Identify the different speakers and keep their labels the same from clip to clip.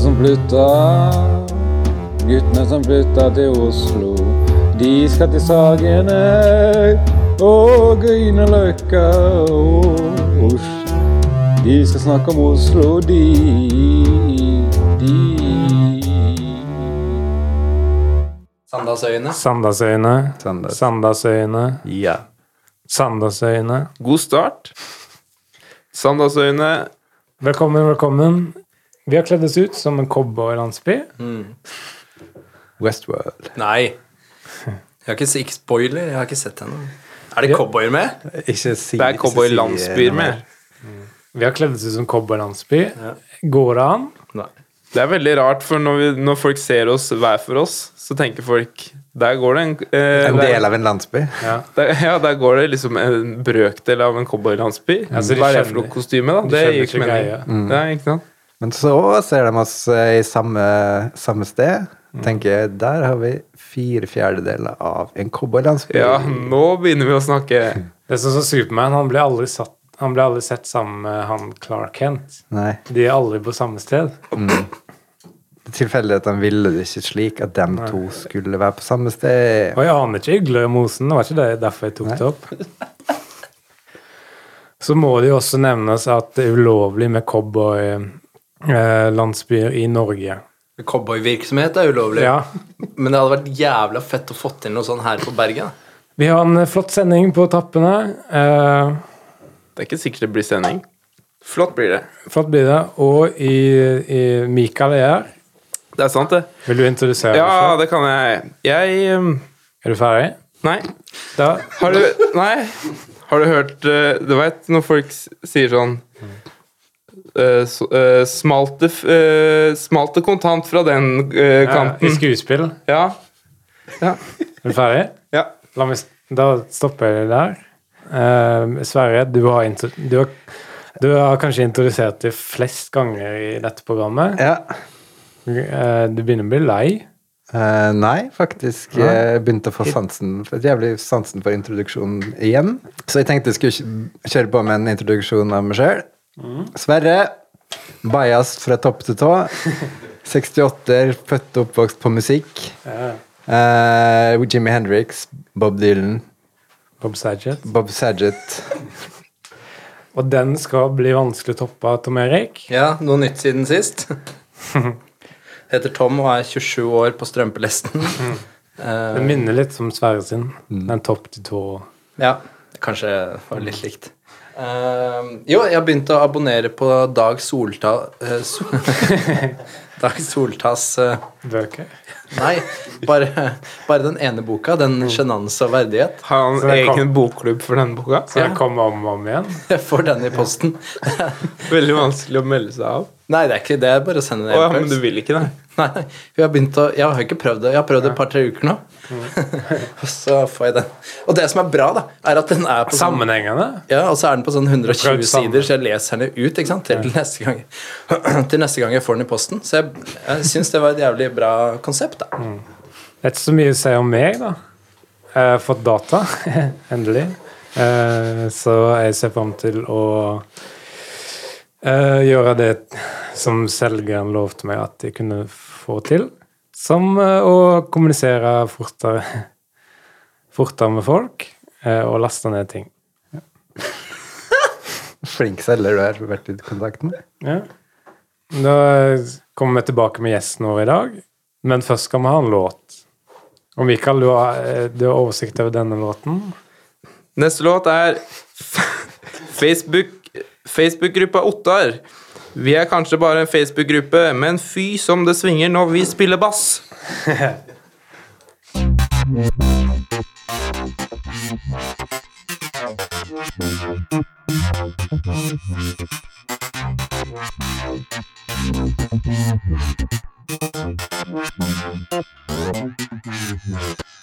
Speaker 1: som flytta, guttene som flytta til Oslo. De skal til Sagene og Grünerløkka og Oslo. De skal snakke om Oslo, de. de.
Speaker 2: Sandalsøyene.
Speaker 3: Sandasøyene.
Speaker 4: Sanders.
Speaker 3: Sandasøyene.
Speaker 4: Ja.
Speaker 3: Sandasøyene.
Speaker 4: God start. Sandalsøyene.
Speaker 3: Velkommen, velkommen. Vi har kledd oss ut som en cowboylandsby.
Speaker 4: Westworld.
Speaker 2: Nei. Jeg har ikke, s- ikke spoiler, jeg har ikke sett henne. Er det
Speaker 3: Ja.
Speaker 2: cowboyer med?
Speaker 5: Ikke si
Speaker 4: Det er cowboylandsbyer med.
Speaker 3: Vi har kledd oss ut som cowboylandsby. Går det an?
Speaker 2: Nei.
Speaker 4: Det er veldig rart, for når, vi, når folk ser oss hver for oss, så tenker folk Der går det en eh,
Speaker 5: En
Speaker 4: der,
Speaker 5: del av en landsby.
Speaker 4: der, Ja, der går det liksom en brøkdel av en cowboylandsby.
Speaker 3: så Mm. de
Speaker 4: Hva er det
Speaker 3: skjønner-
Speaker 4: for noe kostyme, da?
Speaker 3: de
Speaker 4: Det
Speaker 3: skjønner
Speaker 4: gir ikke
Speaker 3: ikke
Speaker 4: mening.
Speaker 3: greia.
Speaker 5: Mm.
Speaker 4: Nei, ikke sant?
Speaker 5: Men så ser de oss eh, i samme, samme sted. Tenker jeg, Der har vi fire fjerdedeler av en cowboylandsby.
Speaker 4: Ja, nå begynner vi å snakke.
Speaker 3: Det er sånn som Superman, han ble aldri, satt, han ble aldri sett sammen med han Clark Kent.
Speaker 5: Nei.
Speaker 3: De er aldri på samme sted.
Speaker 5: Tilfeldighetene ville det ikke slik at de to skulle være på samme sted.
Speaker 3: Og jeg aner ikke Ygle og Mosen, det var ikke det, derfor jeg tok det opp. Så må det jo også nevnes at det er ulovlig med cowboylandsbyer i Norge.
Speaker 2: Cowboyvirksomhet er ulovlig.
Speaker 3: Ja.
Speaker 2: Men det hadde vært jævla fett å få til noe sånt her på Bergen. da.
Speaker 3: Vi har en eh, flott sending på tappene. Eh,
Speaker 4: Det er ikke sikkert det blir sending. Flott blir det.
Speaker 3: flott blir det. Og i, i Mikael er her.
Speaker 4: Det er sant, det.
Speaker 3: Vil du introdusere deg?
Speaker 4: Ja,
Speaker 3: selv?
Speaker 4: det kan jeg. Jeg um,
Speaker 3: Er du ferdig?
Speaker 4: Nei.
Speaker 3: Da,
Speaker 4: Har du Nei. Har du hørt eh, Du veit når folk s- sier sånn eh, så- eh, smalt, det, f- eh, smalt det kontant fra den eh,
Speaker 3: I
Speaker 4: kanten.
Speaker 3: skuespill.
Speaker 4: Ja. Ja.
Speaker 3: Er du ferdig?
Speaker 4: ja.
Speaker 3: La meg, s- da stopper jeg der. Eh, Sverre, du har, intro, du, har, du har kanskje introdusert det flest ganger i dette programmet.
Speaker 5: Ja.
Speaker 3: Eh, du begynner å bli lei.
Speaker 5: Eh, nei, faktisk. Jeg begynte å få sansen for, jævlig sansen for introduksjonen igjen. Så jeg tenkte jeg skulle kj- kjøre på med en introduksjon av meg sjøl. Mm. Sverre. Bajas fra topp til tå. 68-er, født og oppvokst på musikk. Eh, Jimmy Hendrix, Bob Dylan,
Speaker 3: Bob Saget.
Speaker 5: Bob Saget.
Speaker 3: Og den skal bli vanskelig å toppe av Tom Erik.
Speaker 2: Ja, noe nytt siden sist. Heter Tom og er 27 år på strømpelesten. Eh,
Speaker 3: Den minner litt om Sverre sin.
Speaker 4: Mm.
Speaker 3: Den topp til tå.
Speaker 2: ja, kanskje var litt likt. Eh, jo, jeg begynte å abonnere på Dag Solta... eh, so Dag Soltas eh,
Speaker 3: Bøker.
Speaker 2: Nei, bare, bare den ene boka. Den 'Sjenanse og verdighet'.
Speaker 4: Har han
Speaker 3: Så det
Speaker 4: egen bokklubb for denne boka?
Speaker 3: Så den kommer om og om igjen.
Speaker 2: Jeg får den i posten.
Speaker 4: Veldig vanskelig å melde seg av.
Speaker 2: Nei, det er ikke det. Det er bare å sende
Speaker 4: Å
Speaker 2: det.
Speaker 4: ja, men du vil ikke det?
Speaker 2: Nei, vi har begynt å Jeg har ikke prøvd det. Jeg har prøvd det et par-tre uker nå. og så får jeg den. Og det som er bra, da, er at den er på sånn-
Speaker 3: Sammenhengende.
Speaker 2: Ja, og så er den på sånn 120
Speaker 3: Prøvd sammen.
Speaker 2: sider, så jeg leser den jo ut ikke sant? til neste gang Til neste gang jeg får den i posten. Så jeg, jeg syns det var et jævlig bra konsept, da.
Speaker 3: Det er ikke så mye å si om meg, da. Jeg har fått data, endelig. Eh, Så jeg ser fram til å eh, gjøre det som selgeren lovte meg at jeg kunne få til. Som eh, å kommunisere fortere, fortere med folk eh, og laste ned ting.
Speaker 5: Flink selger du har vært i kontakt med.
Speaker 3: Ja. Da kommer vi tilbake med gjesten vår i dag, men først skal vi ha en låt. Og Mikael, du har, eh, du har oversikt over denne låten?
Speaker 4: Neste låt er Facebook Facebook-gruppa Ottar. Vi er kanskje bare en Facebook-gruppe, men fy som det svinger når vi spiller bass.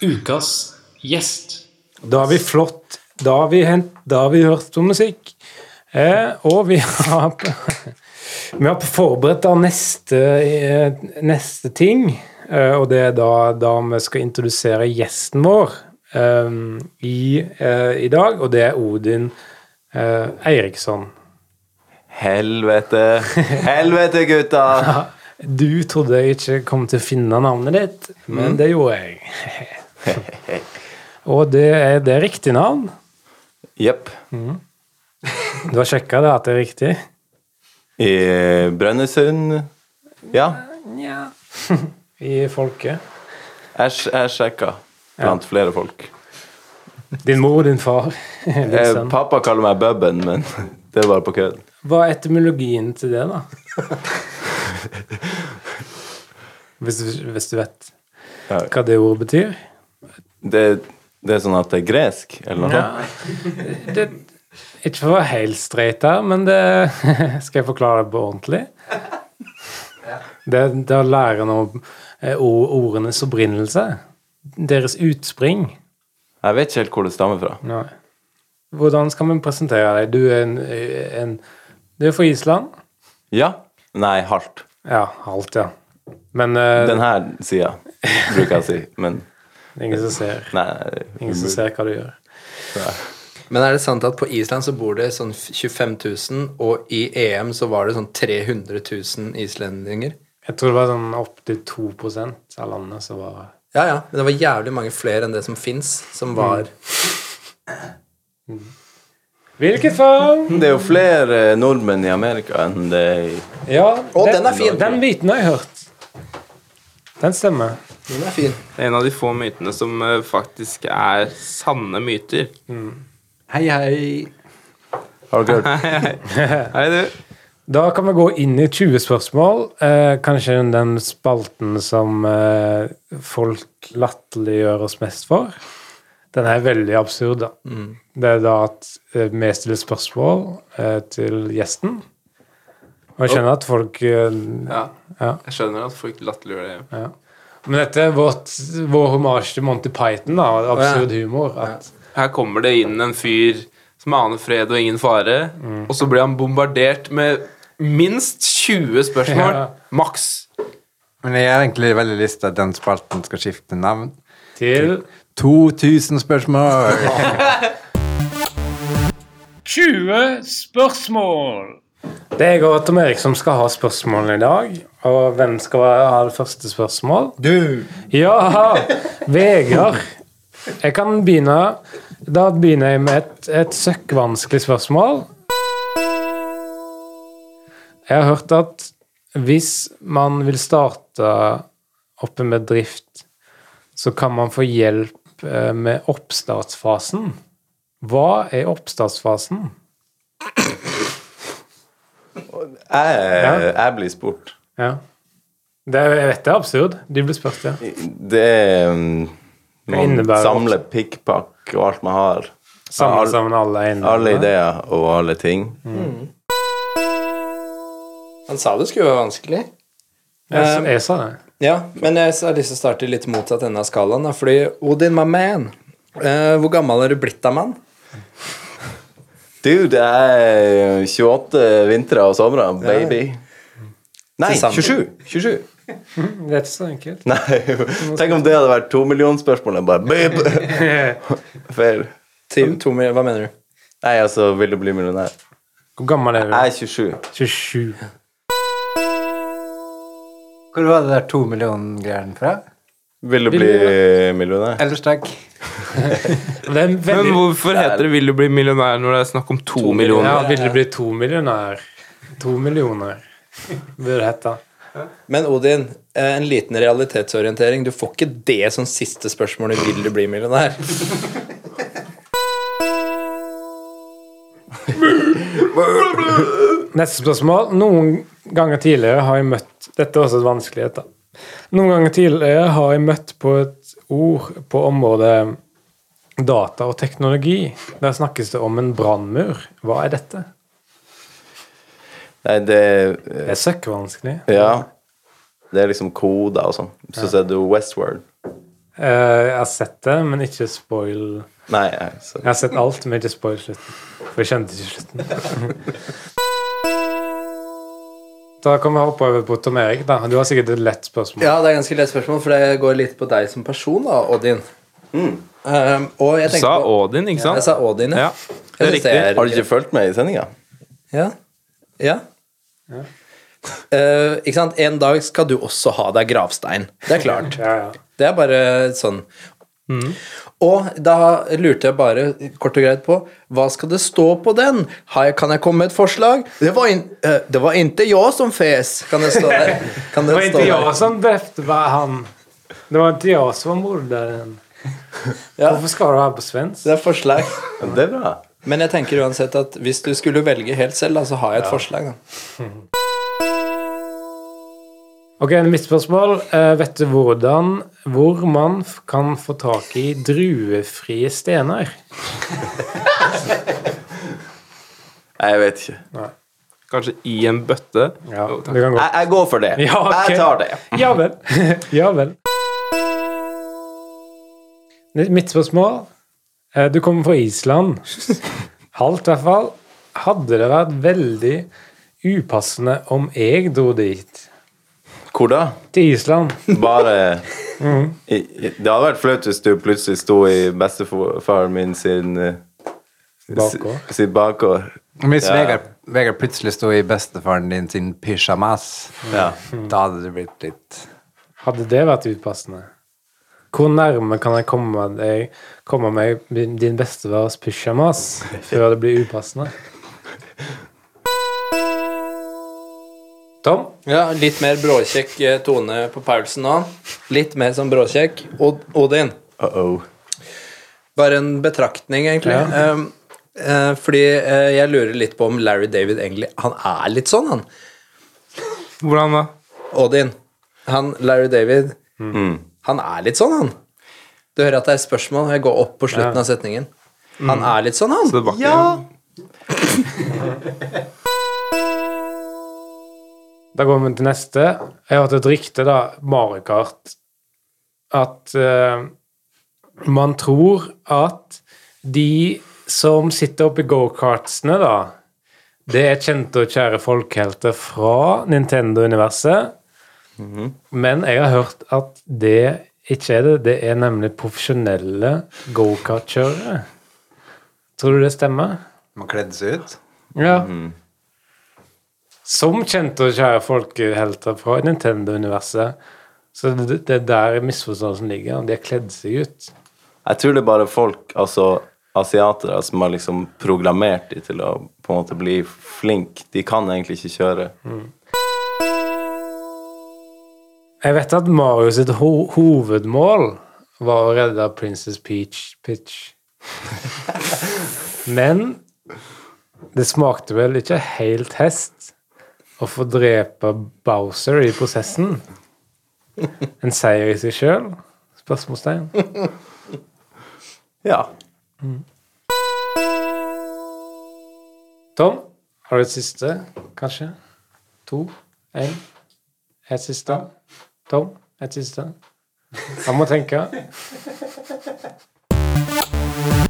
Speaker 6: Ukas gjest.
Speaker 3: Da har vi flott. Da har vi, hent, da har vi hørt på musikk. Eh, og vi har, vi har forberedt da neste, eh, neste ting. Eh, og det er da, da vi skal introdusere gjesten vår eh, i, eh, i dag. Og det er Odin eh, Eiriksson.
Speaker 7: Helvete. Helvete, gutta!
Speaker 3: Du trodde jeg ikke kom til å finne navnet ditt,
Speaker 6: Mm.
Speaker 3: men det gjorde jeg. Og det er det er riktig navn.
Speaker 6: Jepp.
Speaker 3: Du har sjekka det at det er riktig?
Speaker 6: I Brønnøysund Ja,
Speaker 3: Nja I folket.
Speaker 6: jeg, sj- jeg sjekka blant flere folk.
Speaker 3: Din mor og din far. Din
Speaker 6: Eh,
Speaker 3: sønn.
Speaker 6: pappa kaller meg Bubben, men det var på kødd.
Speaker 3: Hva er etymologien til det, da? Hvis du, hvis du vet
Speaker 6: Ja.
Speaker 3: hva det ordet betyr?
Speaker 6: Det, det er sånn at det er gresk, eller noe sånt.
Speaker 3: Det, ikke for å være helt streit her, men det Skal jeg forklare det på ordentlig? Det, det er å lære noe eh, ord- ordenes opprinnelse. Deres utspring.
Speaker 6: Jeg vet ikke helt hvor det stammer fra.
Speaker 3: Nei. Hvordan skal vi presentere deg? Du er en, en Du er fra Island?
Speaker 6: Ja? Nei, halvt.
Speaker 3: Ja, halvt, ja. Men eh,
Speaker 6: Den her sida, bruker jeg å si. Men
Speaker 3: det er ingen som ser,
Speaker 6: nei
Speaker 3: ingen som ser hva du gjør.
Speaker 2: Men er det sant at på Island så bor det sånn 25 000, og i EM så var det sånn 300 000 islendinger?
Speaker 3: Jeg tror det var sånn opptil 2 av landet som var
Speaker 2: Ja, ja, men det var jævlig mange flere enn det som fins, som var
Speaker 3: Hvilket fag?
Speaker 6: Det er jo flere eh, nordmenn i Amerika enn det er i
Speaker 3: Ja,
Speaker 2: Å, den er fin.
Speaker 3: Den biten har jeg hørt. Den stemmer.
Speaker 2: Den er fin.
Speaker 4: Det er en av de få mytene som eh, faktisk er sanne myter.
Speaker 5: Hei, hei.
Speaker 6: Har dere hørt?
Speaker 4: Hei, du.
Speaker 3: Da kan vi gå inn i 20 spørsmål. Eh, kanskje den spalten som eh, folk latterliggjør oss mest for. Den er veldig absurd, da. Det er da at eh, vi stiller spørsmål eh, til gjesten. Og jeg skjønner at folk eh,
Speaker 4: Ja.
Speaker 3: Ja.
Speaker 4: Jeg skjønner at folk latterliggjør det.
Speaker 3: Men dette er vårt, vår hommage til Monty Python, da. Absurd humor. At,
Speaker 4: Her kommer det inn en fyr som aner fred og ingen fare, og så blir han bombardert med minst 20 spørsmål.
Speaker 3: Ja.
Speaker 4: Maks.
Speaker 5: Men jeg har egentlig veldig lyst til at den spalten skal skifte navn.
Speaker 3: til
Speaker 5: 2000 spørsmål!
Speaker 3: 20 spørsmål! Det er jeg og Tom Erik som skal ha spørsmålene i dag. Og hvem skal ha det første spørsmål?
Speaker 5: Du!
Speaker 3: Ja! Vegard. Jeg kan begynne. Da begynner jeg med et, et søkkvanskelig spørsmål. Jeg har hørt at hvis man vil starte opp en bedrift, så kan man få hjelp eh, med oppstartsfasen. Hva er oppstartsfasen?
Speaker 6: Jeg, jeg blir spurt.
Speaker 3: Ja. Det er, jeg vet det er absurd. De blir spurt, ja.
Speaker 6: Det er mm, Man
Speaker 3: innebærer
Speaker 6: samler pikkpakk og alt man har.
Speaker 3: Samle
Speaker 6: Alle-
Speaker 3: sammen alle eiendommene.
Speaker 6: Alle ideer og alle ting.
Speaker 2: Han sa det skulle være vanskelig.
Speaker 3: Jeg,
Speaker 4: Um,
Speaker 3: sa- jeg sa det.
Speaker 2: Ja, men jeg har lyst til å starte litt motsatt ende av skalaen, da, fordi Odin, my man, eh, hvor gammel er du blitt da, mann?
Speaker 6: Dude, jeg er 28 vintre og somre, baby. Nei,
Speaker 2: Til sammen.
Speaker 6: 27. 27.
Speaker 3: Det er ikke så enkelt.
Speaker 6: Nei, tenk om det hadde vært tomillionspørsmålet. Bare bip! Feil.
Speaker 2: Til to mil- Hva mener du?
Speaker 6: Nei, altså, vil du bli millionær?
Speaker 3: Hvor gammel er du?
Speaker 6: Jeg er 27.
Speaker 3: 27.
Speaker 5: Hvor var det der to million-greiene fra?
Speaker 6: Vil du bli millionær?
Speaker 5: Ellers takk.
Speaker 3: Det er
Speaker 4: Men
Speaker 3: veldig...
Speaker 4: hvorfor heter det 'vil du bli millionær' når det er snakk om to,
Speaker 3: Ja,
Speaker 4: millioner?
Speaker 3: vil det bli to millioner? To millioner, burde det hette.
Speaker 2: Men Odin, eh, en liten realitetsorientering. Du får ikke det som siste spørsmål i 'Vil du bli millionær'?
Speaker 3: Neste spørsmål. Noen ganger tidligere har jeg møtt Dette er også et vanskelighet, da. Noen ganger tidligere har jeg møtt på et ord på området data og teknologi. Der snakkes det om en brannmur. Hva er dette?
Speaker 6: Nei, det eh,
Speaker 3: Det er søkkvanskelig.
Speaker 6: Ja. Det er liksom koder og sånn. Så ser du Westward.
Speaker 3: Eh, jeg har sett det, men ikke spoil Jeg
Speaker 6: Nei, jeg- så.
Speaker 3: har sett alt, men ikke spoil slutten. For jeg kjente ikke slutten. Da kan vi hoppe over på Tom Erik. Da. Du har sikkert et lett spørsmål.
Speaker 2: Ja, det er ganske lett spørsmål, for det går litt på deg som person, da, Odin.
Speaker 6: Mm.
Speaker 2: Um, og jeg
Speaker 4: Du
Speaker 2: tenker
Speaker 4: sa
Speaker 2: på-
Speaker 4: Odin, ikke
Speaker 2: Ja, jeg
Speaker 4: sant?
Speaker 2: sa Odin,
Speaker 4: Ja, det er
Speaker 2: Jeg synes
Speaker 4: riktig.
Speaker 6: Har du ikke fulgt med i sendinga?
Speaker 2: Ja. ja. eh, ikke sant? En dag skal du også ha deg gravstein. Det er klart.
Speaker 3: Ja, ja.
Speaker 2: Det er bare sånn.
Speaker 3: Mm.
Speaker 2: Og da lurte jeg bare kort og greit på hva skal det stå på den? Har jeg, kan jeg komme med et forslag? Det var, in, eh, det var inte jag som fes, kan det stå der. Kan
Speaker 3: Det var
Speaker 2: stå
Speaker 3: inte jag
Speaker 2: der?
Speaker 3: som döpte var han. Det var inte jag som mordade den.
Speaker 2: Ja.
Speaker 3: Varför ska du ha på svensk?
Speaker 2: Det er forslag.
Speaker 6: Men det er bra.
Speaker 2: Men jeg tenker uansett at hvis du skulle velge helt selv, da, så har jeg et forslag. Da.
Speaker 3: Ok, mitt spørsmål. eh, vet du hvordan, hvor man f- kan få tak i druefrie stener?
Speaker 6: Nei, jeg vet ikke.
Speaker 4: Kanskje i en bøtte?
Speaker 3: Ja,
Speaker 4: Jo, takk.
Speaker 3: det kan gå.
Speaker 6: Jeg, jeg går for det.
Speaker 3: Ja, ok.
Speaker 6: Jeg tar det.
Speaker 3: Ja vel. ja vel. Mitt spørsmål eh, Du kommer fra Island. Halvt, i hvert fall. Hadde det vært veldig upassende om jeg dro dit?
Speaker 6: Hvor da?
Speaker 3: Til Island?
Speaker 6: Bare I, i, Det hadde vært flaut hvis du plutselig sto i bestefaren min sin eh,
Speaker 3: Bakgård.
Speaker 6: si- Sin bakgård.
Speaker 5: Men Hvis
Speaker 6: Ja.
Speaker 5: Vegard, Vegard plutselig sto i bestefaren din sin pysjamas,
Speaker 6: Ja.
Speaker 4: Mm.
Speaker 5: da hadde det blitt litt
Speaker 3: Hadde det vært upassende? Hvor nærme kan jeg komme deg komme meg din bestefars pysjamas før det blir upassende? Tom?
Speaker 2: Ja, litt mer bråkjekk eh, tone på Paulsen nå. Litt mer sånn bråkjekk. Od Odin.
Speaker 6: Uh-oh.
Speaker 2: Bare en betraktning, egentlig. Ehm, eh, fordi eh, jeg lurer litt på om Larry David egentlig Han er litt sånn, han.
Speaker 4: Hvordan da?
Speaker 2: Odin. Han Larry David.
Speaker 4: Mm.
Speaker 2: Han er litt sånn, han. Du hører at det er spørsmål. Jeg går opp på slutten av setningen. Han er litt sånn, han.
Speaker 4: Så det var ikke ja.
Speaker 3: Da går vi til neste. Jeg har hørt et rykte, da, Mario Kart, at eh, man tror at de som sitter oppi gokartsene, da, det er kjente og kjære folkehelter fra Nintendo-universet. Men jeg har hørt at det ikke er det. Det er nemlig profesjonelle gokartkjørere. Tror du det stemmer?
Speaker 5: Man kledde seg ut.
Speaker 3: Ja. Som kjente og kjære folkehelter fra Nintendo-universet. Så det, det er der misforståelsen ligger. De har kledd seg ut.
Speaker 6: Jeg tror det er bare folk, altså asiatere, som har liksom programmert de til å på en måte bli flink. De kan egentlig ikke kjøre.
Speaker 3: Jeg vet at Mario sitt ho hovedmål var å redde Princess Peach Pitch. Men det smakte vel ikke helt hest å få drepe Bowser i prosessen. En seier i seg sjøl? Spørsmålstegn. Mm.
Speaker 6: Ja.
Speaker 3: Tom, har du et siste, kanskje? To? Én? Et siste? Tom, et siste? Han må tenke. 20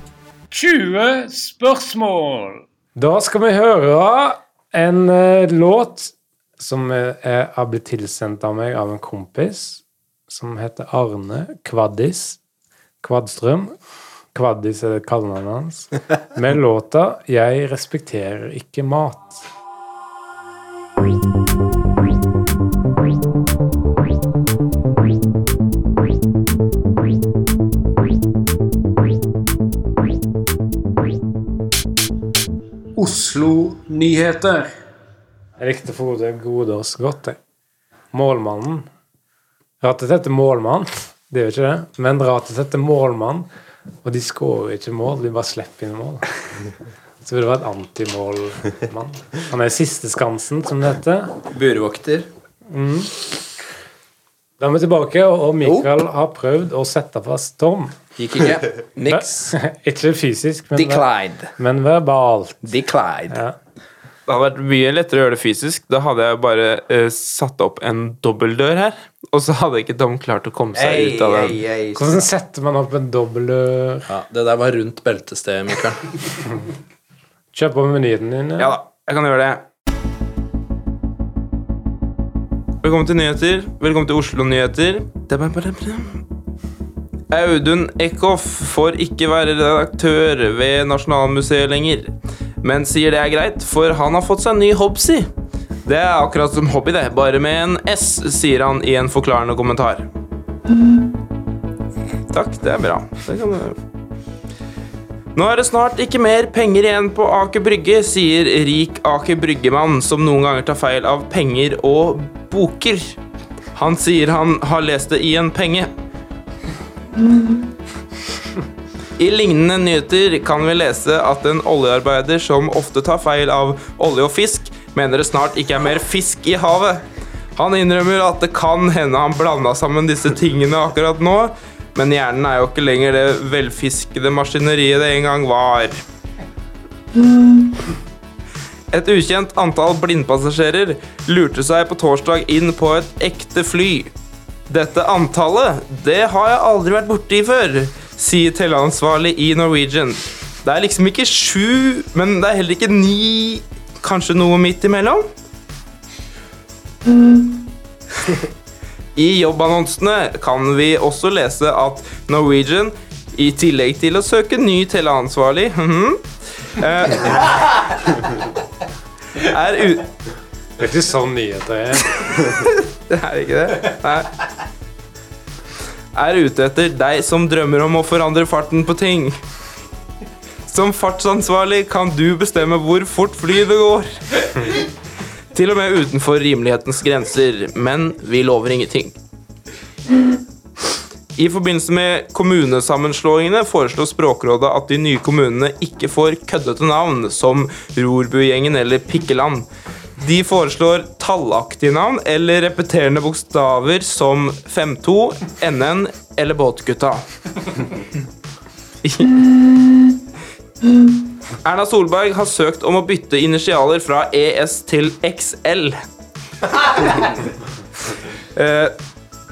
Speaker 3: spørsmål! Da skal vi høre en eh, låt som eh, er, har blitt tilsendt av meg av en kompis som heter Arne Kvaddis Kvadstrøm. Kvaddis er kallenavnet hans. Med låta 'Jeg respekterer ikke mat'.
Speaker 7: Oslo-nyheter.
Speaker 3: Jeg likte Frode Godås godt, jeg. Målmannen. Ratet heter Målmann, det gjør ikke det, men Ratet heter Målmann, og de skårer ikke mål, de bare slipper inn mål. Så burde det være et antimålmann. Han er siste skansen, som det heter.
Speaker 2: Burvokter.
Speaker 3: Da er vi tilbake, og Mikael har prøvd å sette fast Tom.
Speaker 2: Gikk ikke. Niks.
Speaker 3: ikke fysisk, men,
Speaker 2: Declined.
Speaker 3: men verbalt.
Speaker 2: Declined.
Speaker 3: Ja.
Speaker 4: Det hadde vært mye lettere å gjøre det fysisk. Da hadde jeg bare eh, satt opp en dobbeldør her, og så hadde ikke Tom klart å komme seg ut av den.
Speaker 3: Hvordan setter man opp en dobbeltdør?
Speaker 2: Ja, det der var rundt beltestedet, Mikael.
Speaker 3: Kjøp på menyen din.
Speaker 4: Ja da, jeg kan gjøre det. Velkommen til nyheter. Velkommen til Oslo Nyheter. Audun Eckhoff får ikke være redaktør ved Nasjonalmuseet lenger, men sier det er greit, for han har fått seg en ny hobbsy. Det er akkurat som hobby, det. Bare med en S, sier han i en forklarende kommentar. Takk, det er bra. Det kan du gjøre. Nå er det snart ikke mer penger igjen på Aker Brygge, sier rik Aker Bryggemann, som noen ganger tar feil av penger og boker. Han sier han har lest det i en penge. I lignende nyheter kan vi lese at en oljearbeider som ofte tar feil av olje og fisk, mener det snart ikke er mer fisk i havet. Han innrømmer at det kan hende han blanda sammen disse tingene akkurat nå, men hjernen er jo ikke lenger det velfiskede maskineriet det en gang var. Et ukjent antall blindpassasjerer lurte seg på torsdag inn på et ekte fly. Dette antallet, det har jeg aldri vært borti før, sier telleansvarlig i Norwegian. Det er liksom ikke sju, men det er heller ikke ni, kanskje noe midt imellom? I jobbannonsene kan vi også lese at Norwegian, i tillegg til å søke ny teleansvarlig, eh, er ute
Speaker 3: Det er ikke sånn nyheter er.
Speaker 4: det er ikke det. Nei. Er ute etter deg som drømmer om å forandre farten på ting. Som fartsansvarlig kan du bestemme hvor fort flyet går. Til og med utenfor rimelighetens grenser, men vi lover ingenting. I forbindelse med kommunesammenslåingene foreslår Språkrådet at de nye kommunene ikke får køddete navn som Rorbugjengen eller Pikkeland. De foreslår tallaktige navn eller repeterende bokstaver som 52, NN eller Båtgutta. Erna Solberg har søkt om å bytte initialer fra ES til XL. Eh,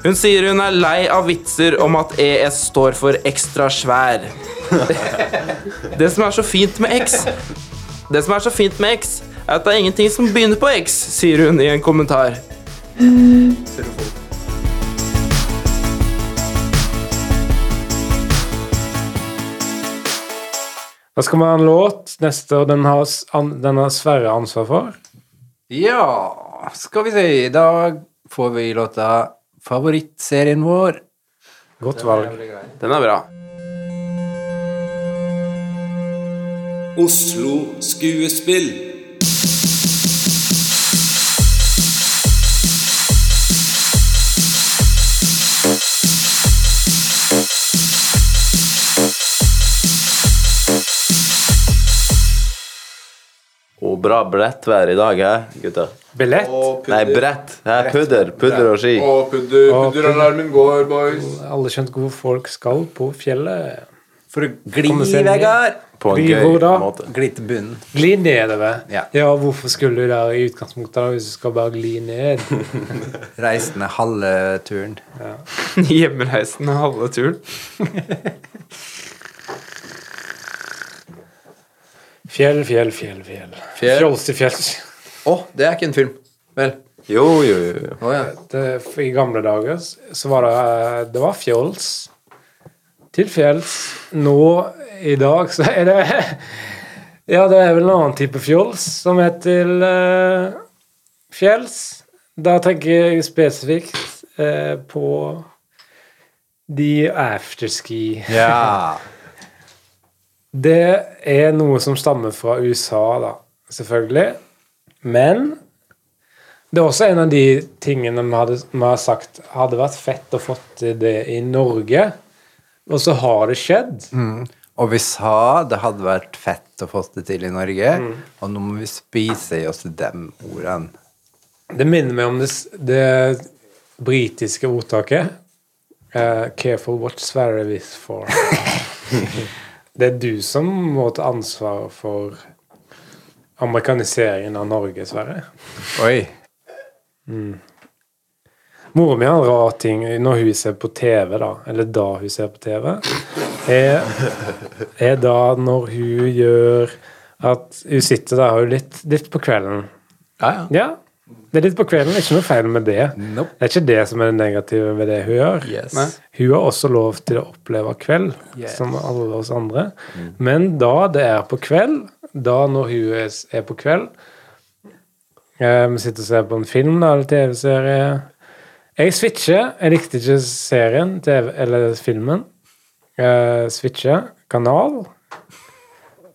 Speaker 4: hun sier hun er lei av vitser om at ES står for ekstra svær. Det som er så fint med X Det som er så fint med X, er at det er ingenting som begynner på X, sier hun i en kommentar.
Speaker 3: Da skal vi ha en låt neste, og den har, s- an- den har Sverre ansvar for.
Speaker 5: Ja, skal vi se. I dag får vi låta 'Favorittserien vår'.
Speaker 3: Godt valg.
Speaker 4: Den er bra.
Speaker 7: Oslo Skuespill.
Speaker 6: Og bra brettvær i dag, hæ, gutter?
Speaker 3: Billett.
Speaker 6: Nei, brett. Hæ, pudder. Pudder og ski.
Speaker 8: Og pudder,
Speaker 3: Og
Speaker 8: pudderalarmen går, boys.
Speaker 3: Alle skjønt gode folk skal på fjellet.
Speaker 5: For å gli,
Speaker 3: Kommer seg ned.
Speaker 5: Vegard.
Speaker 6: På en
Speaker 3: Vi
Speaker 6: gøy
Speaker 3: går da.
Speaker 6: måte.
Speaker 5: Gli til bunnen.
Speaker 3: Gli nedover.
Speaker 5: Ja.
Speaker 3: hvorfor skulle du der i utgangspunktet da, hvis du skal bare gli ned?
Speaker 5: Reisen er halve turen.
Speaker 4: Hjemreisen er halve turen.
Speaker 3: Fjell, fjell, fjell, fjell.
Speaker 2: Fjell.
Speaker 3: Fjols til fjells.
Speaker 2: Å, det er ikke en film. Vel.
Speaker 6: Jo, jo, jo.
Speaker 2: Å ja.
Speaker 3: Det, for eh, I gamle dager s- så var det eh, Det var fjols til fjells. Nå i dag så er det Ja, det er vel en annen type fjols som er til eh, fjells. Da tenker jeg spesifikt eh, på de afterski.
Speaker 5: Ja.
Speaker 3: Det er noe som stammer fra USA, da, selvfølgelig. Men det er også en av de tingene vi, hadde, vi har sagt hadde vært fett å fått til det i Norge. Og så har det skjedd.
Speaker 5: Og vi sa det hadde vært fett å få det til i Norge,
Speaker 4: Mm.
Speaker 5: og nå må vi spise i oss de ordene.
Speaker 3: Det minner meg om det, s- det britiske ordtaket eh, Careful what Sverre is for. det er du som må ta ansvaret for amerikaniseringen av Norge, Sverre.
Speaker 5: Oi.
Speaker 3: Mora mi har en rar ting når hun ser på TV, da, eller da hun ser på TV, er, er da når hun gjør at hun sitter der og er litt, litt på kvelden.
Speaker 5: Ja, ja.
Speaker 3: Ja, det er litt på kvelden. Ikke noe feil med det.
Speaker 5: Nope.
Speaker 3: Det er ikke det som er det negative med det hun gjør.
Speaker 5: Yes.
Speaker 3: Nei. Hun har også lov til å oppleve kveld, som alle oss andre. Men da det er på kveld, da når hun er- er på kveld, Eh, Vi sitter og ser på en film da, eller TV-serie. Jeg switcher. Jeg likte ikke serien TV, eller filmen. Eh, switcher kanal.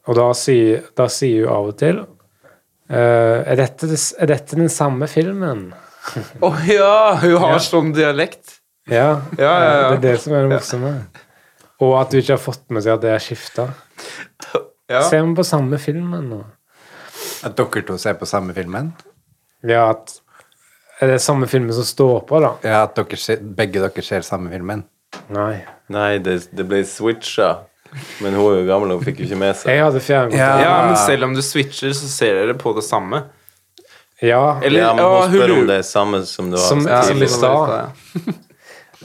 Speaker 3: Og da sier, da sier hun av og til eh, er, dette, det- er dette den samme filmen?
Speaker 4: Å ja! Hun har sånn dialekt.
Speaker 3: Ja,
Speaker 4: Ja, ja, ja.
Speaker 3: eh, Det er det som er det morsomme. Og at du ikke har fått med seg at det er skifta.
Speaker 4: Ja.
Speaker 3: Ser vi på samme filmen nå?
Speaker 5: At dere to ser på samme filmen?
Speaker 3: Ja, at Er det samme filmen som står på, da?
Speaker 5: Ja, at dere ser, begge dere ser samme filmen?
Speaker 3: Nei.
Speaker 6: Nei, det, det ble switcha. Men hun er jo gammel og fikk jo ikke med seg.
Speaker 3: Jeg hadde fjernkontroll.
Speaker 5: Ja.
Speaker 4: Ja, men selv om du switcher, så ser dere på det samme.
Speaker 3: Ja.
Speaker 4: Eller,
Speaker 6: Ja, men
Speaker 4: å,
Speaker 6: hun spør
Speaker 4: lurer-
Speaker 6: om det er samme som du har
Speaker 3: Som-
Speaker 4: Ja,
Speaker 6: tidligere.
Speaker 3: som i stad.
Speaker 4: ja.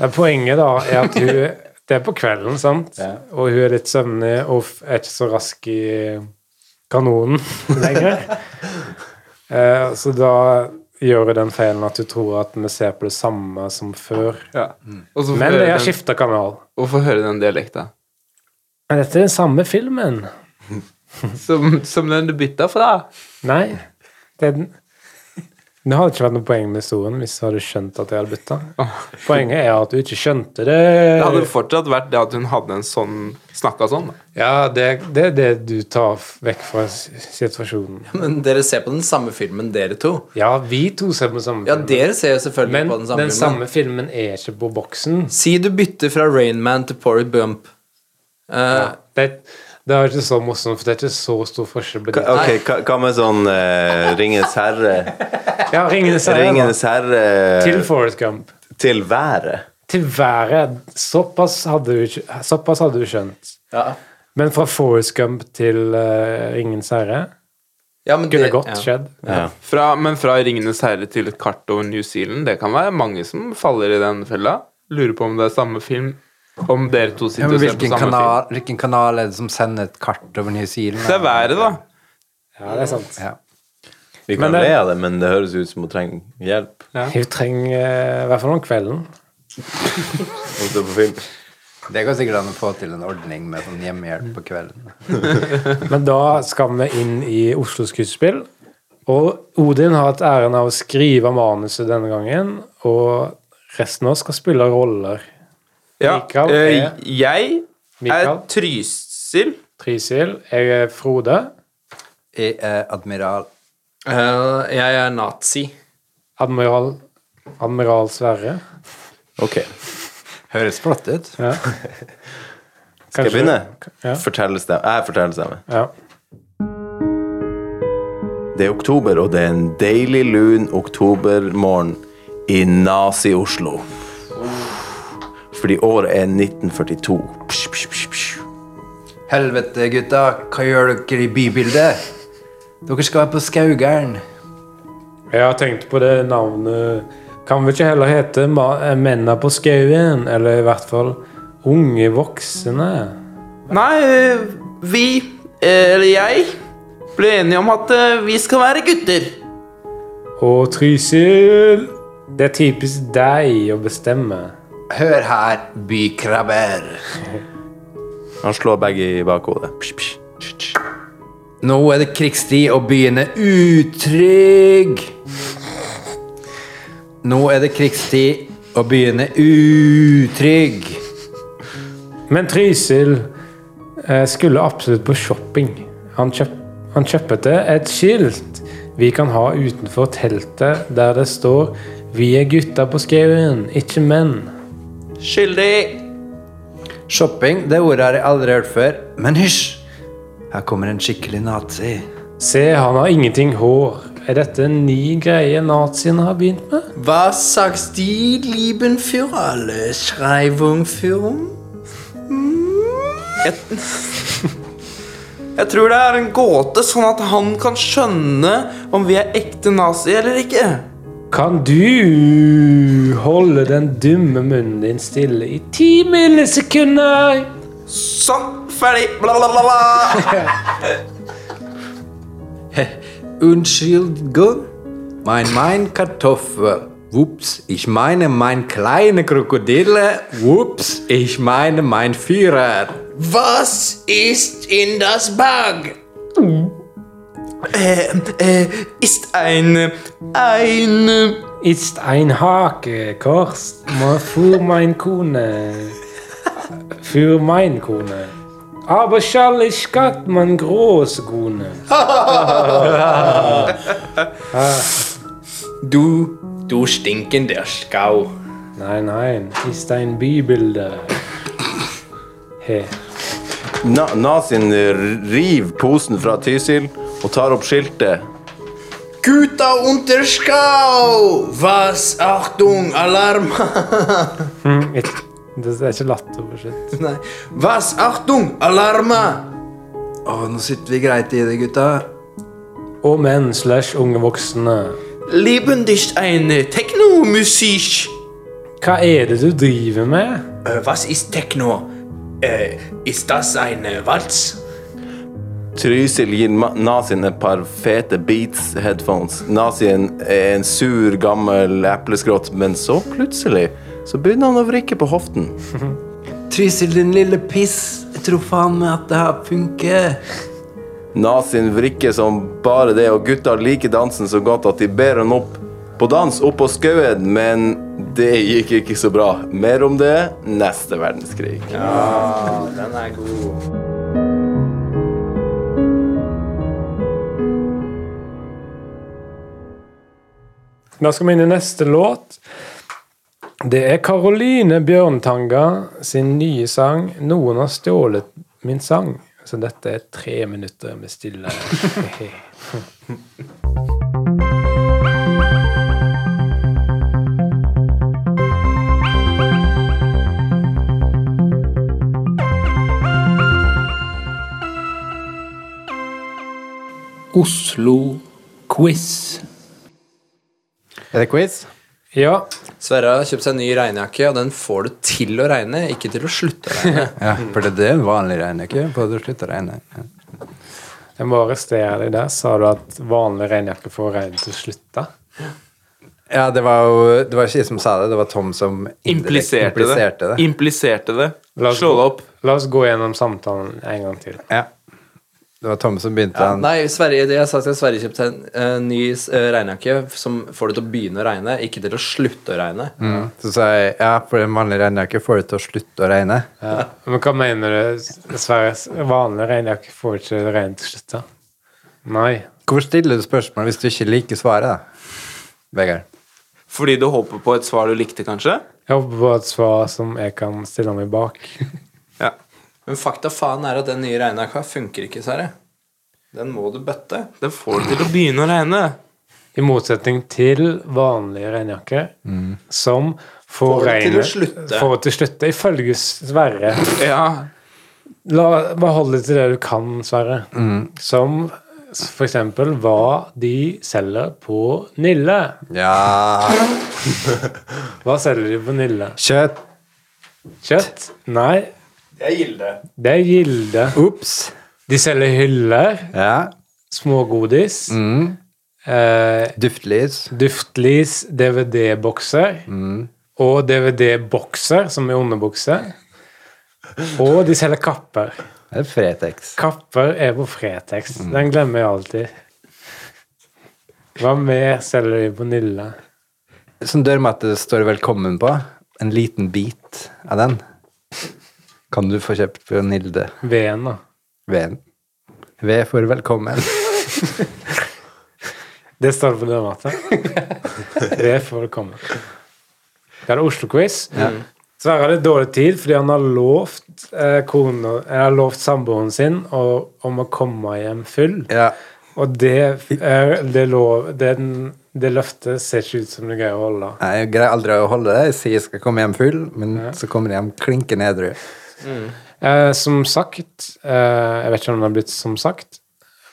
Speaker 3: Ja, Poenget da er at hun Det er på kvelden, sant? Og hun er litt søvnig og f- er ikke så rask i kanonen lenger. Eh, Så da gjør hun den feilen at hun tror at vi ser på det samme som før.
Speaker 4: Ja. Og så får
Speaker 3: Men
Speaker 4: høre
Speaker 3: jeg har
Speaker 4: den-
Speaker 3: skifta kanal.
Speaker 4: og få høre den dialekta.
Speaker 3: Men dette er den samme filmen.
Speaker 4: Som, som den du bytta fra.
Speaker 3: Nei. Det er den det hadde ikke vært noe poeng med historien hvis du hadde skjønt at jeg hadde bytta. Poenget er at du ikke skjønte det.
Speaker 4: Det hadde fortsatt vært det at hun hadde en sånn snakka sånn. da.
Speaker 3: Ja, det det er det du tar f- vekk fra s- situasjonen.
Speaker 2: Men dere ser på den samme filmen, dere to.
Speaker 3: Ja, vi to ser på den samme
Speaker 2: Ja,
Speaker 3: filmen.
Speaker 2: dere ser jo selvfølgelig
Speaker 3: men
Speaker 2: på den
Speaker 3: den,
Speaker 2: samme filmen.
Speaker 3: samme filmen er ikke på boksen.
Speaker 2: Si du bytter fra Rainman til Porry Bump. Eh,
Speaker 3: Det, det er ikke så morsomt, for det er ikke så stor forskjell på
Speaker 6: Ka-
Speaker 3: det.
Speaker 6: Ok, hva- hva med sånn eh, Ringenes herre?
Speaker 3: Ja, Ringenes herre.
Speaker 6: Ringenes
Speaker 3: da.
Speaker 6: herre
Speaker 3: Til
Speaker 6: til,
Speaker 3: Forrest Gump.
Speaker 6: været?
Speaker 3: Til været. Såpass hadde du, ikke- såpass hadde du skjønt.
Speaker 2: ja.
Speaker 3: Men fra Forrest Gump til eh, Ringenes herre
Speaker 2: Ja, men
Speaker 3: kunne
Speaker 2: det-
Speaker 3: godt
Speaker 2: ja.
Speaker 3: skjedd.
Speaker 6: Ja.
Speaker 4: Fra, men fra 'Ringenes herre' til et kart over New Zealand, det kan være mange som faller i den fella. Lurer på om det er samme film. Om dere to sitter og ser på
Speaker 5: hvilken,
Speaker 4: samme film.
Speaker 5: kanal, hvilken kanal er det som sender et kart over New Zealand?
Speaker 4: Det er været, da.
Speaker 3: Ja, det er sant.
Speaker 5: Ja.
Speaker 6: Vi kan
Speaker 3: Men det-
Speaker 6: le av det, men det høres ut som hun trenger hjelp.
Speaker 3: Hun trenger eh, i hvert fall om kvelden.
Speaker 6: Også på film.
Speaker 5: Det går sikkert an å få til en ordning med sånn hjemmehjelp på kvelden.
Speaker 3: Men da skal vi inn i Oslo Skuespill. Og Odin har hatt æren av å skrive manuset denne gangen, og resten av oss skal spille roller.
Speaker 4: Ja.
Speaker 3: Mikael
Speaker 4: eh,
Speaker 3: er-
Speaker 4: jeg er
Speaker 3: Mikael?
Speaker 4: Trysil.
Speaker 3: Trysil, jeg er Frode.
Speaker 5: Jeg er admiral.
Speaker 2: Eh, jeg er nazi.
Speaker 3: Admiral, Admiral Sverre.
Speaker 6: Ok,
Speaker 5: Høres flott ut.
Speaker 3: Ja.
Speaker 6: skal jeg begynne?
Speaker 3: Ja.
Speaker 6: Fortellestemme. Jeg er fortellestemme.
Speaker 3: Ja.
Speaker 6: Det er oktober, og det er en deilig lun oktobermorgen i Nazi-Oslo. Fordi året er 1942. Psh, psh, psh, psh.
Speaker 5: Helvete, gutta. Hva gjør dere i bybildet? Dere skal være på Skaugern.
Speaker 3: Jeg har tenkt på det navnet Kan vi ikke heller hete Ma- eh, Menna på skauen? Eller i hvert fall Unge voksne.
Speaker 4: Nei, eh, vi, eh, eller jeg, ble enige om at eh, vi skal være gutter.
Speaker 3: Og Trysil Det er typisk deg å bestemme.
Speaker 5: Hør her, bykrabber.
Speaker 6: Han slår begge i bakhodet. Psh, psh.
Speaker 5: Nå er det krigstid, og byen er utrygg. Nå er det krigstid, og byen er utrygg.
Speaker 3: Men Trysil eh, skulle absolutt på shopping. Han, kjøp, han kjøpte et skilt vi kan ha utenfor teltet der det står 'Vi er gutta på skauen, ikke menn'.
Speaker 4: Skyldig.
Speaker 5: Shopping, det ordet har jeg aldri hørt før. Men hysj! Her kommer en skikkelig nazi.
Speaker 3: Se, han har ingenting hår. Er dette en ny greie nazien har begynt med?
Speaker 2: Hva sagst de, lieben für alle Schreibung für
Speaker 4: Jeg, jeg tror det er en gåte, sånn at han kan skjønne om vi er ekte nazi eller ikke.
Speaker 3: Kan du holde den dumme munnen din stille i ti millisekunder?
Speaker 4: Sånn, ferdig, bla, bla, bla, bla.
Speaker 5: Unnskyld, mein mein Kartoffel. Whoops, ich meine mein kleine Krokodille. Whoops, ich meine mein Führer.
Speaker 2: Was ist in das Bag?
Speaker 4: Eh, eh, ist ein ein
Speaker 3: Ist ein hakekors ma- für mein Kone. Für mein Kone. Aber schall ich gatt man groß Kone.
Speaker 2: Du, du stinkender Skau.
Speaker 3: Nein, nein, ist ein Bibel. He.
Speaker 6: Na, Nazin river posen fra Tysil og tar opp skiltet.
Speaker 2: Guta unter Skau! Was? Achtung, Alarm!
Speaker 3: Det er ikke latter. for shit.
Speaker 2: Nei. Was? Achtung, Alarma! Å, nå sitter vi greit i det, gutta.
Speaker 3: Og menn slash unge voksne.
Speaker 4: Leben dich eine Techno-Musik.
Speaker 3: Hva er det du driver med?
Speaker 2: Äh, was ist Techno? Äh, ist das ein äh, Walz?
Speaker 6: Trysil gir Ma- Nazin et par fete Beats-headphones. Nazin er en sur, gammel epleskrott, men så plutselig så begynner han å vrikke på hoften.
Speaker 5: Trysil, din lille piss. Jeg tror faen meg at det her funker.
Speaker 6: Nazin vrikker som bare det, og gutta liker dansen så godt at de ber han opp på dans opp på skauen, men det gikk ikke så bra. Mer om det neste verdenskrig.
Speaker 3: Da skal vi inn i neste låt. Det er Karoline Bjørntanga sin nye sang 'Noen har stjålet min sang'. Så dette er tre minutter med stille.
Speaker 7: Oslo-quiz.
Speaker 5: Er det quiz?
Speaker 3: ja,
Speaker 2: Sverre har kjøpt seg en ny regnjakke, og den får du til å regne, ikke til å slutte å regne.
Speaker 5: Ja, for det er en vanlig regnekke. Bare du slutter å regne. Ja.
Speaker 3: jeg må arrestere deg der. Sa du at vanlig regnjakke får regnet til å slutte?
Speaker 5: Ja, det var jo det var ikke jeg som sa det, det var Tom som
Speaker 4: Impliserte
Speaker 5: indirekte
Speaker 4: det.
Speaker 5: impliserte det.
Speaker 4: Impliserte det.
Speaker 3: La oss
Speaker 4: Slå
Speaker 3: gå-
Speaker 4: det opp.
Speaker 3: La oss gå gjennom samtalen en gang til.
Speaker 5: Ja. Det var Tom som begynte han.
Speaker 2: Nei, Sverre, det jeg sa til Sverre kjøpte en eh, ny uh, regnjakke som får det til å begynne å regne, ikke til å slutte å regne.
Speaker 5: Mm. Så sa jeg ja, for en vanlig regnejakke får det til å slutte å regne.
Speaker 3: Men hva mener du? Sverre, vanlig regnjakke får ikke regnet til å slutte? Nei.
Speaker 5: Hvorfor stiller du spørsmål hvis du ikke liker svaret, da? Vegard.
Speaker 4: Fordi du håper på et svar du likte, kanskje?
Speaker 3: Jeg håper på et svar som jeg kan stille meg bak.
Speaker 4: Ja.
Speaker 2: Men fakta faen er at den nye regnjakka funker ikke, Sverre. Den må du bøtte.
Speaker 4: Den får det til å begynne å regne.
Speaker 3: I motsetning til vanlige regnjakker, som får
Speaker 2: Får det til å
Speaker 3: regnet
Speaker 2: slutte.
Speaker 3: Får det til å slutte, ifølge Sverre.
Speaker 4: Ja.
Speaker 3: La, bare hold deg til det du kan, Sverre. Som for eksempel hva de selger på Nille.
Speaker 5: Ja
Speaker 3: Hva selger de på Nille?
Speaker 5: Kjøtt.
Speaker 3: Kjøtt? Nei. Det er Gilde. Det er Gilde.
Speaker 5: Ops.
Speaker 3: De selger hyller,
Speaker 5: Ja.
Speaker 3: smågodis,
Speaker 5: Mm.
Speaker 3: eh,
Speaker 5: Duftlys.
Speaker 3: duftlys, DVD-bokser og DVD-bokser, som er underbukse. Og de selger kapper.
Speaker 5: Det er Fretex.
Speaker 3: Kapper er på Fretex. Den glemmer jeg alltid. Hva mer selger de på Nille?
Speaker 5: Som dørmatte står det 'velkommen' på. En liten bit av den kan du få kjøpt på Nilde
Speaker 3: Veden, da.
Speaker 5: V-en. V for velkommen.
Speaker 3: Det står det på dørmatta. Det får det komme. Det er Oslo-quiz. Sverre hadde dårlig tid fordi han har lovt, eh, kona, han har lovt samboeren sin å, om å komme hjem full.
Speaker 5: Ja.
Speaker 3: Og det, er, det, lov, det, er den- det løftet ser ikke ut som det greier å holde.
Speaker 5: Nei, Jeg greier aldri å holde det. Jeg sier jeg skal komme hjem full, men så kommer jeg hjem klinke nedru.
Speaker 3: Eh, som sagt eh, Jeg vet ikke om det har blitt som sagt,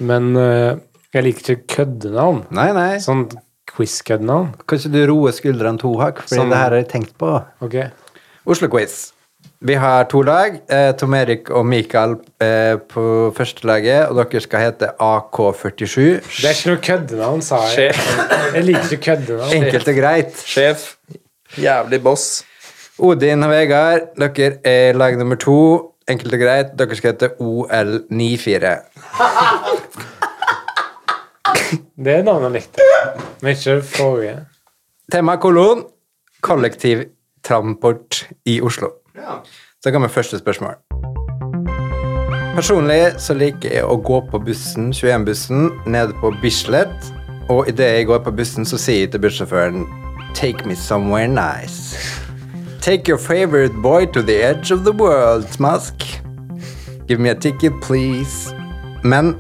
Speaker 3: men eh, jeg liker ikke køddenavn.
Speaker 5: Nei, nei.
Speaker 3: Sånn quiz-køddenavn.
Speaker 5: Kanskje du roer skuldrene to hakk, for det her har jeg tenkt på.
Speaker 3: Ok.
Speaker 5: Oslo-quiz. Vi har to lag. Eh, Tom Erik og Mikael eh, på første laget, og dere skal hete AK47.
Speaker 3: Det er ikke noe køddenavn, sa jeg. Jeg liker ikke køddenavn.
Speaker 5: Enkelt og greit.
Speaker 2: Sjef. Jævlig boss.
Speaker 5: Odin og Vegard, dere er lag nummer to. Enkelt og greit, dere skal hete OL94.
Speaker 3: Det er navnet han likte. Men ikke det forrige.
Speaker 5: Tema kolon kollektivtransport i Oslo. Så kommer første spørsmål. Personlig så liker jeg å gå på bussen, 21-bussen, nede på Bislett. Og idet jeg går på bussen, så sier jeg til bussjåføren Take me somewhere nice. Take your favorite boy to the edge of the world, Smask. Give me a ticket, please. Men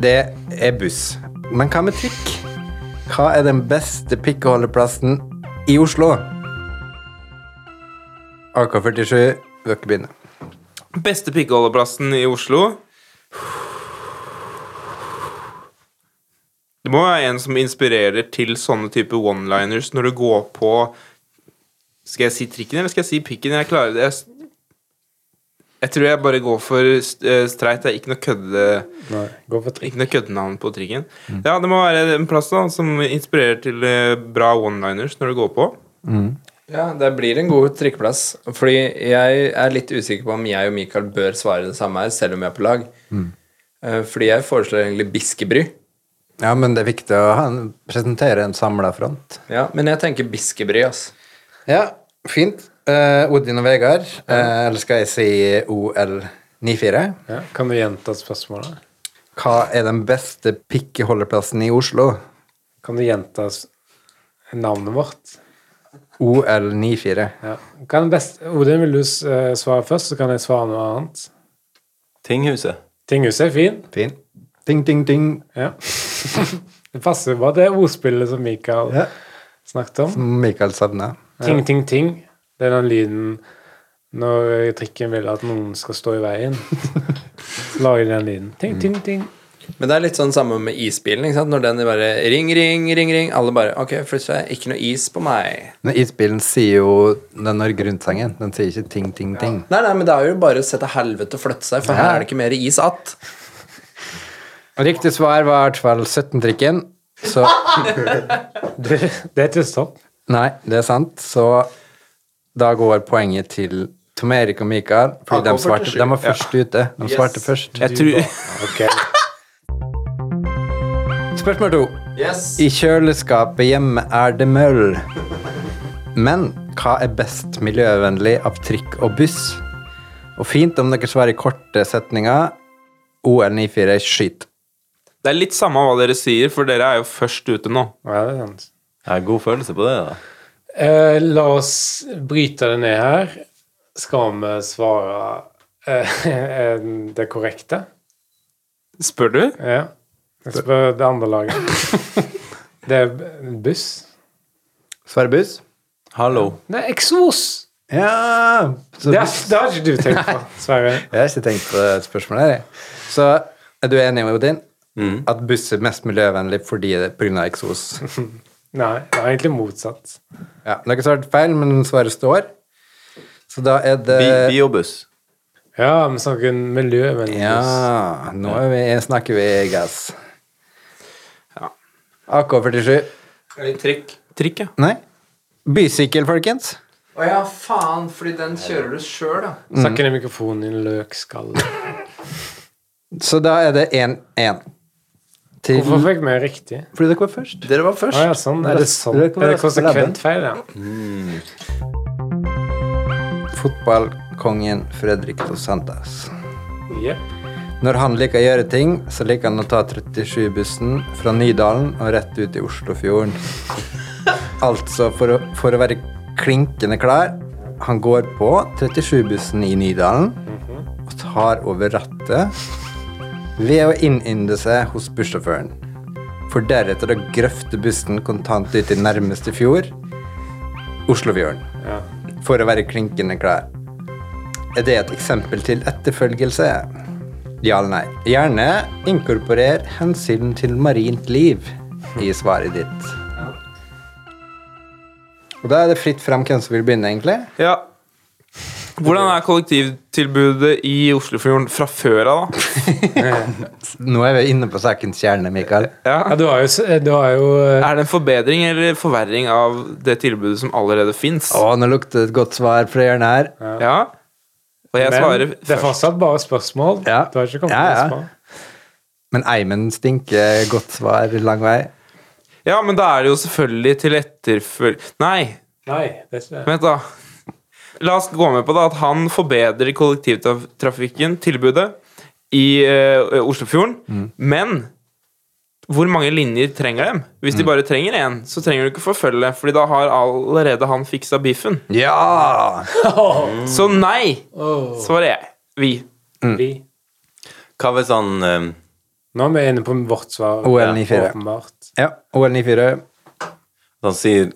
Speaker 5: det er buss. Men hva med trikk? Hva er den beste pikkeholdeplassen i Oslo? AK47, vil dere begynne?
Speaker 4: Beste pikkeholdeplassen i Oslo? Det må være en som inspirerer til sånne type one-liners når du går på Skal jeg si trikken, eller skal jeg si pikken? Jeg klarer det. Jeg, jeg tror jeg bare går for eh, streit. Det er ikke noe kødde...
Speaker 3: Nei, gå for trikk.
Speaker 4: Ikke noe køddenavn på trikken. Ja, det må være en plass da som inspirerer til eh, bra one-liners når du går på.
Speaker 2: Ja, det blir en god trikkeplass. Fordi jeg er litt usikker på om jeg og Mikael bør svare det samme her, selv om vi er på lag. Eh, Fordi jeg foreslår egentlig Biskebry.
Speaker 5: Ja, men det er viktig å ha en, presentere en samla front.
Speaker 2: Ja, men jeg tenker Biskebry, ass.
Speaker 5: Ja, fint. Eh, Odin og Vegard, eh, eller skal jeg si OL94?
Speaker 3: Ja, kan du gjenta spørsmålet?
Speaker 5: Hva er den beste pikkeholdeplassen i Oslo?
Speaker 3: Kan du gjenta s- navnet vårt?
Speaker 5: OL94.
Speaker 3: Ja. Kan best, Odin, vil du s- eh, svare først, så kan jeg svare noe annet?
Speaker 6: Tinghuset.
Speaker 3: Tinghuset er fin.
Speaker 5: Fin. Ding, ding, ding.
Speaker 3: Ja. Det passer jo bra, det ordspillet som Mikael
Speaker 5: Ja.
Speaker 3: snakket om.
Speaker 5: Mikael savna.
Speaker 3: Ting, ting, ting. Det er den lyden når trikken vil at noen skal stå i veien. Så lager de den lyden. Ting, ting, ting.
Speaker 2: Men det er litt sånn samme med isbilen. ikke sant? Når den bare ring, ring, ring, ring. Alle bare Ok, flytt deg. Ikke noe is på meg.
Speaker 5: Men isbilen sier jo den Norge Rundt-sangen. Den sier ikke ting, ting, ting.
Speaker 2: Nei, nei, men det er jo bare å se til helvete og flytte seg, for her er det ikke mer is att.
Speaker 5: Riktig svar var i hvert fall 17-trikken. Så
Speaker 3: Det, det er til stopp.
Speaker 5: Nei, det er sant. Så da går poenget til Tom Erik og Mikael. Fordi de, svarte, de var først ute. De svarte først.
Speaker 4: Jeg tror
Speaker 3: Ok.
Speaker 5: Spørsmål to. I kjøleskapet hjemme er det møll. Men hva er best miljøvennlig av trikk og buss? Og fint om dere svarer i korte setninger. OL94 skyt.
Speaker 4: Det er litt samme hva dere sier, for dere er jo først ute nå.
Speaker 3: Ja, det er sant.
Speaker 6: Jeg har god følelse på det. da.
Speaker 3: Eh, la oss bryte det ned her. Skal vi svare eh, det korrekte?
Speaker 4: Spør du?
Speaker 3: Ja. Jeg spør det andre laget. Det er buss.
Speaker 5: Svarer buss?
Speaker 6: Hallo.
Speaker 3: Det er eksos!
Speaker 5: Ja! Så
Speaker 3: Det,
Speaker 5: buss.
Speaker 3: er, det har ikke du tenkt på, Sverre.
Speaker 5: Jeg har ikke tenkt på det spørsmålet her. jeg. Så er du enig med Odin? At buss er mest miljøvennlig fordi det er pga. eksos.
Speaker 3: Nei, det er egentlig motsatt.
Speaker 5: Ja, dere svarte feil, men svaret står. Så da er det
Speaker 6: Bi biobuss.
Speaker 3: Ja, vi snakker miljøvennlig buss.
Speaker 5: Ja, nå er vi, snakker vi gass.
Speaker 4: Ja.
Speaker 5: AK47.
Speaker 4: Trikk. Trikk, ja.
Speaker 5: Nei. Bysykkel, folkens.
Speaker 2: Å ja, faen, fordi den kjører du sjøl, da.
Speaker 3: Snakk inn i mikrofonen, din løkskalle.
Speaker 5: Så da er det 1-1. Til-
Speaker 3: Hvorfor fikk vi riktig?
Speaker 5: Fordi dere var først.
Speaker 2: Dere var
Speaker 3: Å
Speaker 2: først.
Speaker 3: ja, sånn. Er det sånn?
Speaker 5: Det kan
Speaker 3: Er det
Speaker 5: være
Speaker 3: konsekvent feil, ja?
Speaker 5: Fotballkongen Fredrik Dos Santas.
Speaker 3: Jepp.
Speaker 5: Når han liker å gjøre ting, så liker han å ta 37-bussen fra Nydalen og rett ut i Oslofjorden. Altså, for å, for å være klinkende klar, han går på 37-bussen i Nydalen og tar over rattet ved å innynde seg hos bussjåføren. For deretter å grøfte bussen kontant ut i nærmeste fjord, Oslofjorden.
Speaker 3: Ja.
Speaker 5: For å være klinkende klar. Er det et eksempel til etterfølgelse? Ja eller nei. Gjerne inkorporer hensyn til marint liv i svaret ditt. Og Da er det fritt fram hvem som vil begynne, egentlig.
Speaker 4: ja. Hvordan er kollektivtilbudet i Oslofjorden fra før av, da?
Speaker 5: Nå er vi inne på sakens kjerne, Mikael.
Speaker 3: Ja, du har jo, s- du har jo eh,
Speaker 4: Er det en forbedring eller forverring av det tilbudet som allerede fins?
Speaker 5: Å, nå lukter det et godt svar fra hjørnet her.
Speaker 4: Ja. Og jeg
Speaker 3: eh, Men
Speaker 4: svarer
Speaker 3: det er fortsatt bare spørsmål.
Speaker 5: Ja.
Speaker 3: Du har ikke kommet
Speaker 5: Ja, ja.
Speaker 3: til å
Speaker 5: Men eimen stinker godt svar lang vei.
Speaker 4: Ja, men da er det jo selvfølgelig til etterfølg... Nei,
Speaker 3: Nei, det er ikke
Speaker 4: vent da. La oss gå med på da, at han forbedrer kollektivtrafikken, tilbudet, i eh, Oslofjorden. Men hvor mange linjer trenger dem? Hvis de bare trenger én, så trenger du ikke forfølge, Fordi da har allerede han fiksa biffen.
Speaker 5: Ja!
Speaker 4: Så nei, svarer jeg. Vi.
Speaker 3: vi.
Speaker 6: Hva hvis han eh,
Speaker 3: Nå er vi inne på vårt svar.
Speaker 5: OL
Speaker 3: Ja,
Speaker 5: 94.
Speaker 3: Åpenbart.
Speaker 5: ja OL 94.
Speaker 6: Han sier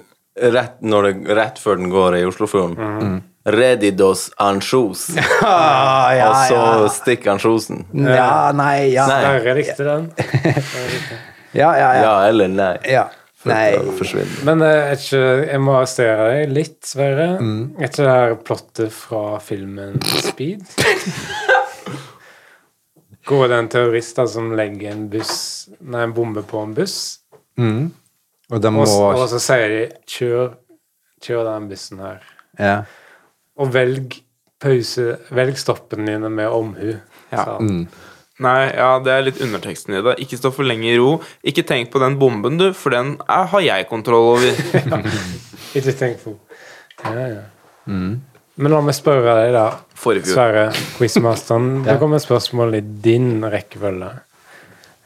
Speaker 6: rett, når det, rett før den går i Oslofjorden
Speaker 5: Mhm.
Speaker 6: Ready dos anchos.
Speaker 5: Ah, ja,
Speaker 6: og så
Speaker 5: ja.
Speaker 6: stikker ansjosen.
Speaker 5: ja, nei, ja.
Speaker 6: Nei.
Speaker 3: Sverre likte den.
Speaker 5: Ja, ja, ja.
Speaker 6: Ja eller nei.
Speaker 5: ja. Nei.
Speaker 6: Da forsvinner den.
Speaker 3: Men eh, er ikke, jeg må arrestere deg litt, Sverre. Er ikke det her plottet fra filmen Speed? Går det en terrorist da, som legger en, buss, nei, en bombe på en buss,
Speaker 5: Og da
Speaker 3: og,
Speaker 5: må
Speaker 3: s- og så sier de 'kjør, kjør den bussen her',
Speaker 5: ja.
Speaker 3: og velg pause, velg stoppen dine med omhu.
Speaker 4: Ja.
Speaker 3: sa han.
Speaker 4: Nei, ja, det er litt underteksten i det. Ikke stå for lenge i ro. Ikke tenk på den bomben, du, for den er, har jeg kontroll over.
Speaker 3: Ikke tenk på ja, ja. Men la meg spørre deg, da.
Speaker 4: Forrige fjor.
Speaker 3: Sverre, quizmasteren. Det kommer et spørsmål i din rekkefølge.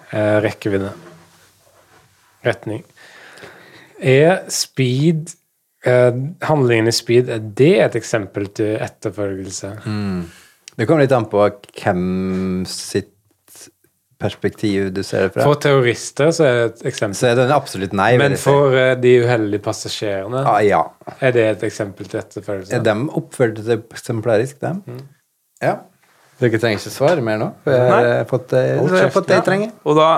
Speaker 3: Eh, rekkevidde. Retning. Er speed eh, Handlingen i speed, er det et eksempel til etterfølgelse?
Speaker 5: Det kommer litt an på hvem sitt perspektiv du ser det fra.
Speaker 3: For terrorister så er det et eksempel.
Speaker 5: Så er det en absolutt nei. vil
Speaker 3: Men
Speaker 5: jeg si.
Speaker 3: for eh, de uheldige passasjerene,
Speaker 5: ah, Ja.
Speaker 3: er det et eksempel til etterfølgelse?
Speaker 5: De oppførte seg eksemplarisk, dem.
Speaker 3: Mm.
Speaker 5: Ja. Dere trenger ikke svare mer nå. For jeg har fått det,
Speaker 3: Hold
Speaker 5: jeg har
Speaker 3: kjeft,
Speaker 5: fått det
Speaker 3: ja.
Speaker 5: jeg trenger.
Speaker 4: Og da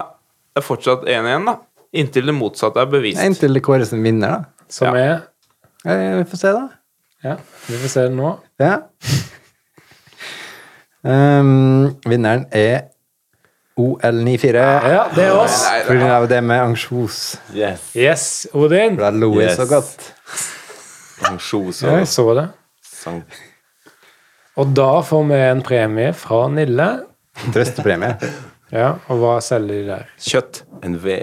Speaker 4: er fortsatt 1 igjen, da. Inntil det motsatte er bevist.
Speaker 5: Inntil det kåres en vinner, da.
Speaker 3: Som er
Speaker 5: Eh, Vi får se, da.
Speaker 3: Ja, vi får se det nå.
Speaker 5: Ja. Um, vinneren er OL94.
Speaker 3: Ja, det er oss.
Speaker 5: På grunn av det med ansjos.
Speaker 6: Yes.
Speaker 3: Yes, Odin.
Speaker 5: For da lo jeg
Speaker 6: Yes.
Speaker 5: så godt.
Speaker 6: Ansjos
Speaker 3: Ja,
Speaker 6: og
Speaker 3: jeg så det.
Speaker 6: sang.
Speaker 3: Og da får vi en premie fra Nille.
Speaker 5: Trøstepremie.
Speaker 3: Ja, og hva selger de der?
Speaker 4: Kjøtt.
Speaker 6: En V.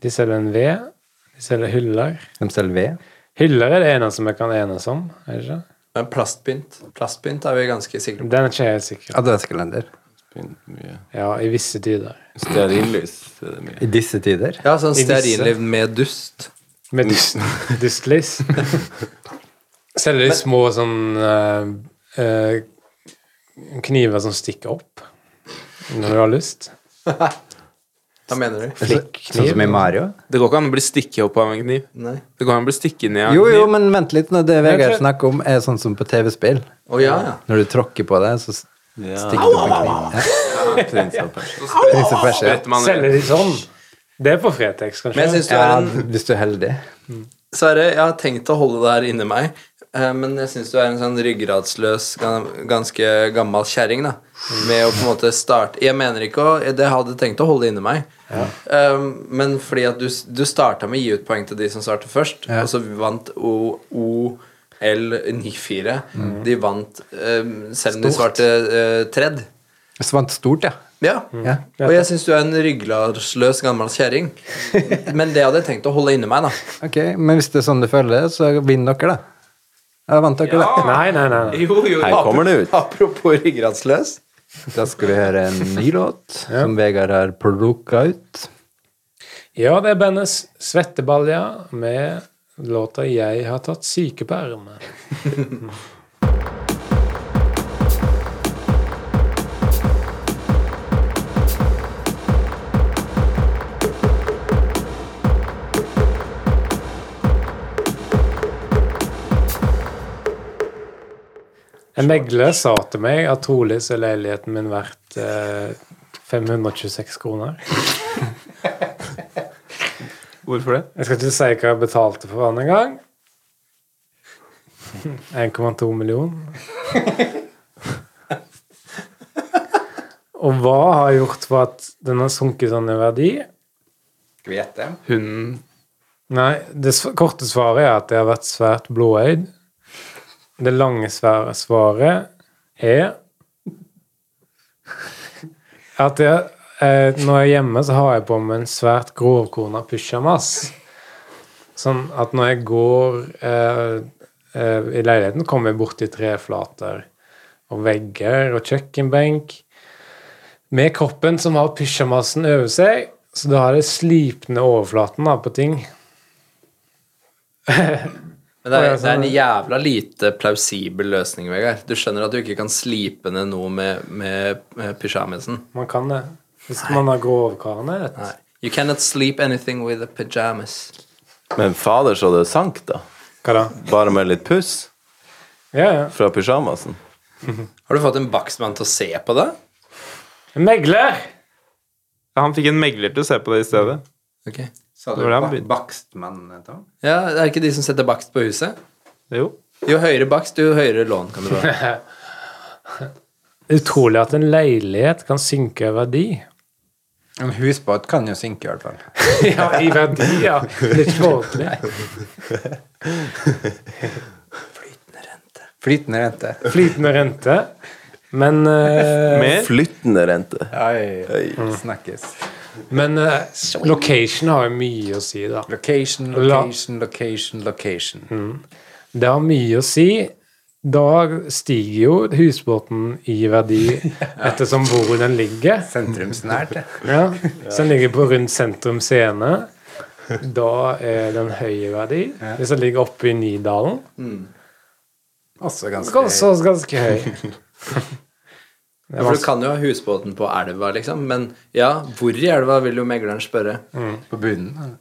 Speaker 3: De selger en ved. De selger hyller.
Speaker 5: De selger ved.
Speaker 3: Hyller er det eneste vi kan enes om. er det ikke?
Speaker 2: Men plastpynt Plastpynt er vi ganske sikre på.
Speaker 3: Den er ikke jeg helt sikker.
Speaker 5: Adventskalender.
Speaker 6: Mye.
Speaker 3: Ja, i visse tider.
Speaker 6: Stearinlys er det mye.
Speaker 5: I disse tider.
Speaker 2: Ja, sånn
Speaker 3: I disse.
Speaker 2: stearinliv med dust.
Speaker 3: Med dyst, dystlys. Selger de små sånn eh, eh, kniver som stikker opp når du har lyst?
Speaker 2: Hva mener du?
Speaker 5: Sånn som i Mario.
Speaker 4: Det går ikke an å bli stikket opp av en kniv.
Speaker 2: Nei.
Speaker 4: Det går an å bli stikket ned av en
Speaker 5: Jo, jo,
Speaker 4: kniv.
Speaker 5: men vent litt. Når det Vegard
Speaker 3: tror-
Speaker 5: snakker om, er sånn som på TV-spill.
Speaker 2: Å ja, ja.
Speaker 5: Når du tråkker på det, så s- stikker det opp en kniv.
Speaker 6: Prins av Persia.
Speaker 5: Ja, prins og perse,
Speaker 4: Vet man-
Speaker 3: Selger de sånn? Det er på Fretex,
Speaker 2: Men jeg
Speaker 3: kanskje?
Speaker 2: syns du
Speaker 5: ja.
Speaker 2: er en
Speaker 5: ja, hvis du er heldig.
Speaker 2: Sverre, jeg har tenkt å holde det her inni meg, eh, men jeg syns du er en sånn ryggradsløs, gan- ganske gammel kjerring, da. Med å på en måte starte Jeg mener ikke å Det hadde jeg tenkt å holde inni meg, Eh, men fordi at du, s- du starta med å gi ut poeng til de som svarte først, og så vant O... o L94. De vant eh, selv om de svarte eh, tredd.
Speaker 5: Svant stort, ja.
Speaker 2: Ja.
Speaker 5: Ja.
Speaker 2: Og jeg syns du er en ryggradsløs gammel kjerring. Men det hadde jeg tenkt å holde inni meg, da.
Speaker 5: Ok, Men hvis det er sånn du føler, det, så vinner dere, da. Da vant dere,
Speaker 4: Ja.
Speaker 5: da.
Speaker 3: Nei, nei, nei. nei.
Speaker 4: Jo, jo.
Speaker 6: Her kommer det ut.
Speaker 2: Apropos ryggradsløs.
Speaker 5: Da skal vi høre en ny låt som Vegard har plukka ut.
Speaker 3: Ja, det er bandets Svettebalja med låta 'Jeg har tatt sykeperm'. En megler sa til meg at trolig så er leiligheten min verdt eh, 526 kroner.
Speaker 4: Hvorfor det?
Speaker 3: Jeg skal ikke si hva jeg betalte for den en gang. 1,2 millioner. Og hva har jeg gjort for at den har sunket sånn i verdi?
Speaker 4: Hunden
Speaker 3: Nei, det s- korte svaret er at jeg har vært svært blåøyd. Det lange svære svaret er at jeg eh, når jeg er hjemme, så har jeg på meg en svært grovkorna pysjamas. Sånn at når jeg går eh, eh, i leiligheten, kommer jeg borti treflater og vegger og kjøkkenbenk. Med kroppen som har pysjamasen over seg, så da har det slipne overflaten da, på ting.
Speaker 2: Men det er, det er en jævla lite plausibel løsning, Vegard. Du skjønner at du ikke kan slipe ned noe med, med, med pysjamasen.
Speaker 3: Man kan det. Hvis man har grovkarene. vet du.
Speaker 2: Nei. You cannot sleep anything with a pajamas.
Speaker 6: Men fader, så det sank, da.
Speaker 3: Hva da?
Speaker 6: Bare med litt puss
Speaker 3: Ja, ja.
Speaker 6: fra pysjamasen.
Speaker 2: Har du fått en bakstmann til å se på det?
Speaker 3: En Megler!
Speaker 4: Ja, han fikk en megler til å se på det i stedet.
Speaker 2: Ok.
Speaker 5: Sa
Speaker 4: Det var det han begynte.
Speaker 5: bakstmann, Tom?
Speaker 2: Ja, det er ikke de som setter bakst på huset?
Speaker 4: Jo.
Speaker 2: Jo høyere bakst, jo høyere lån kan du få.
Speaker 3: Utrolig at en leilighet kan synke i verdi.
Speaker 5: En husbåt kan jo synke, i hvert fall.
Speaker 3: ja, i verdi, ja. Litt forhåpentlig.
Speaker 5: Flytende rente.
Speaker 3: Flytende rente. Men, eh,
Speaker 4: Mer?
Speaker 6: Flyttende rente.
Speaker 5: Oi, snakkes.
Speaker 3: men eh, location har jo mye å si, da.
Speaker 5: Location, location, location, location.
Speaker 3: Mm. Det har mye å si. Da stiger jo husbåten i verdi ettersom hvor den ligger.
Speaker 5: Sentrumsnært. det.
Speaker 3: Ja. Hvis den ligger på rundt sentrum scene, da er den høy i verdi. Hvis den ligger oppe i Nydalen,
Speaker 5: Også
Speaker 3: så
Speaker 5: ganske
Speaker 3: er den også ganske høy.
Speaker 2: Ja, For du kan jo ha husbåten på elva, liksom, men ja, hvor i elva vil jo megleren spørre?
Speaker 5: på bunnen.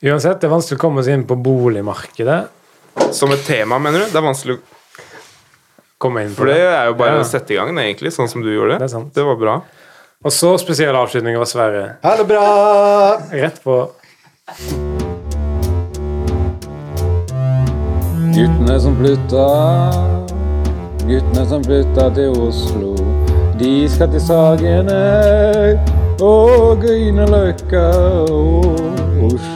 Speaker 3: Uansett, det er vanskelig å komme seg inn på boligmarkedet.
Speaker 4: Som et tema, mener du? Det er vanskelig
Speaker 3: Komme inn på
Speaker 4: For det
Speaker 3: det.
Speaker 4: er jo bare
Speaker 3: Ja.
Speaker 4: å sette i gang, egentlig, sånn som du gjorde.
Speaker 3: Det er sant.
Speaker 4: Det var bra.
Speaker 3: Og så spesiell avslutning av Sverre.
Speaker 5: Ha det bra!
Speaker 3: Rett på
Speaker 1: Guttene som flytta Guttene som flytta til Oslo De skal til Sagene og Grünerløkka og Os-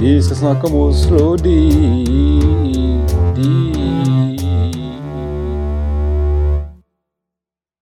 Speaker 1: De skal snakke om Oslo, de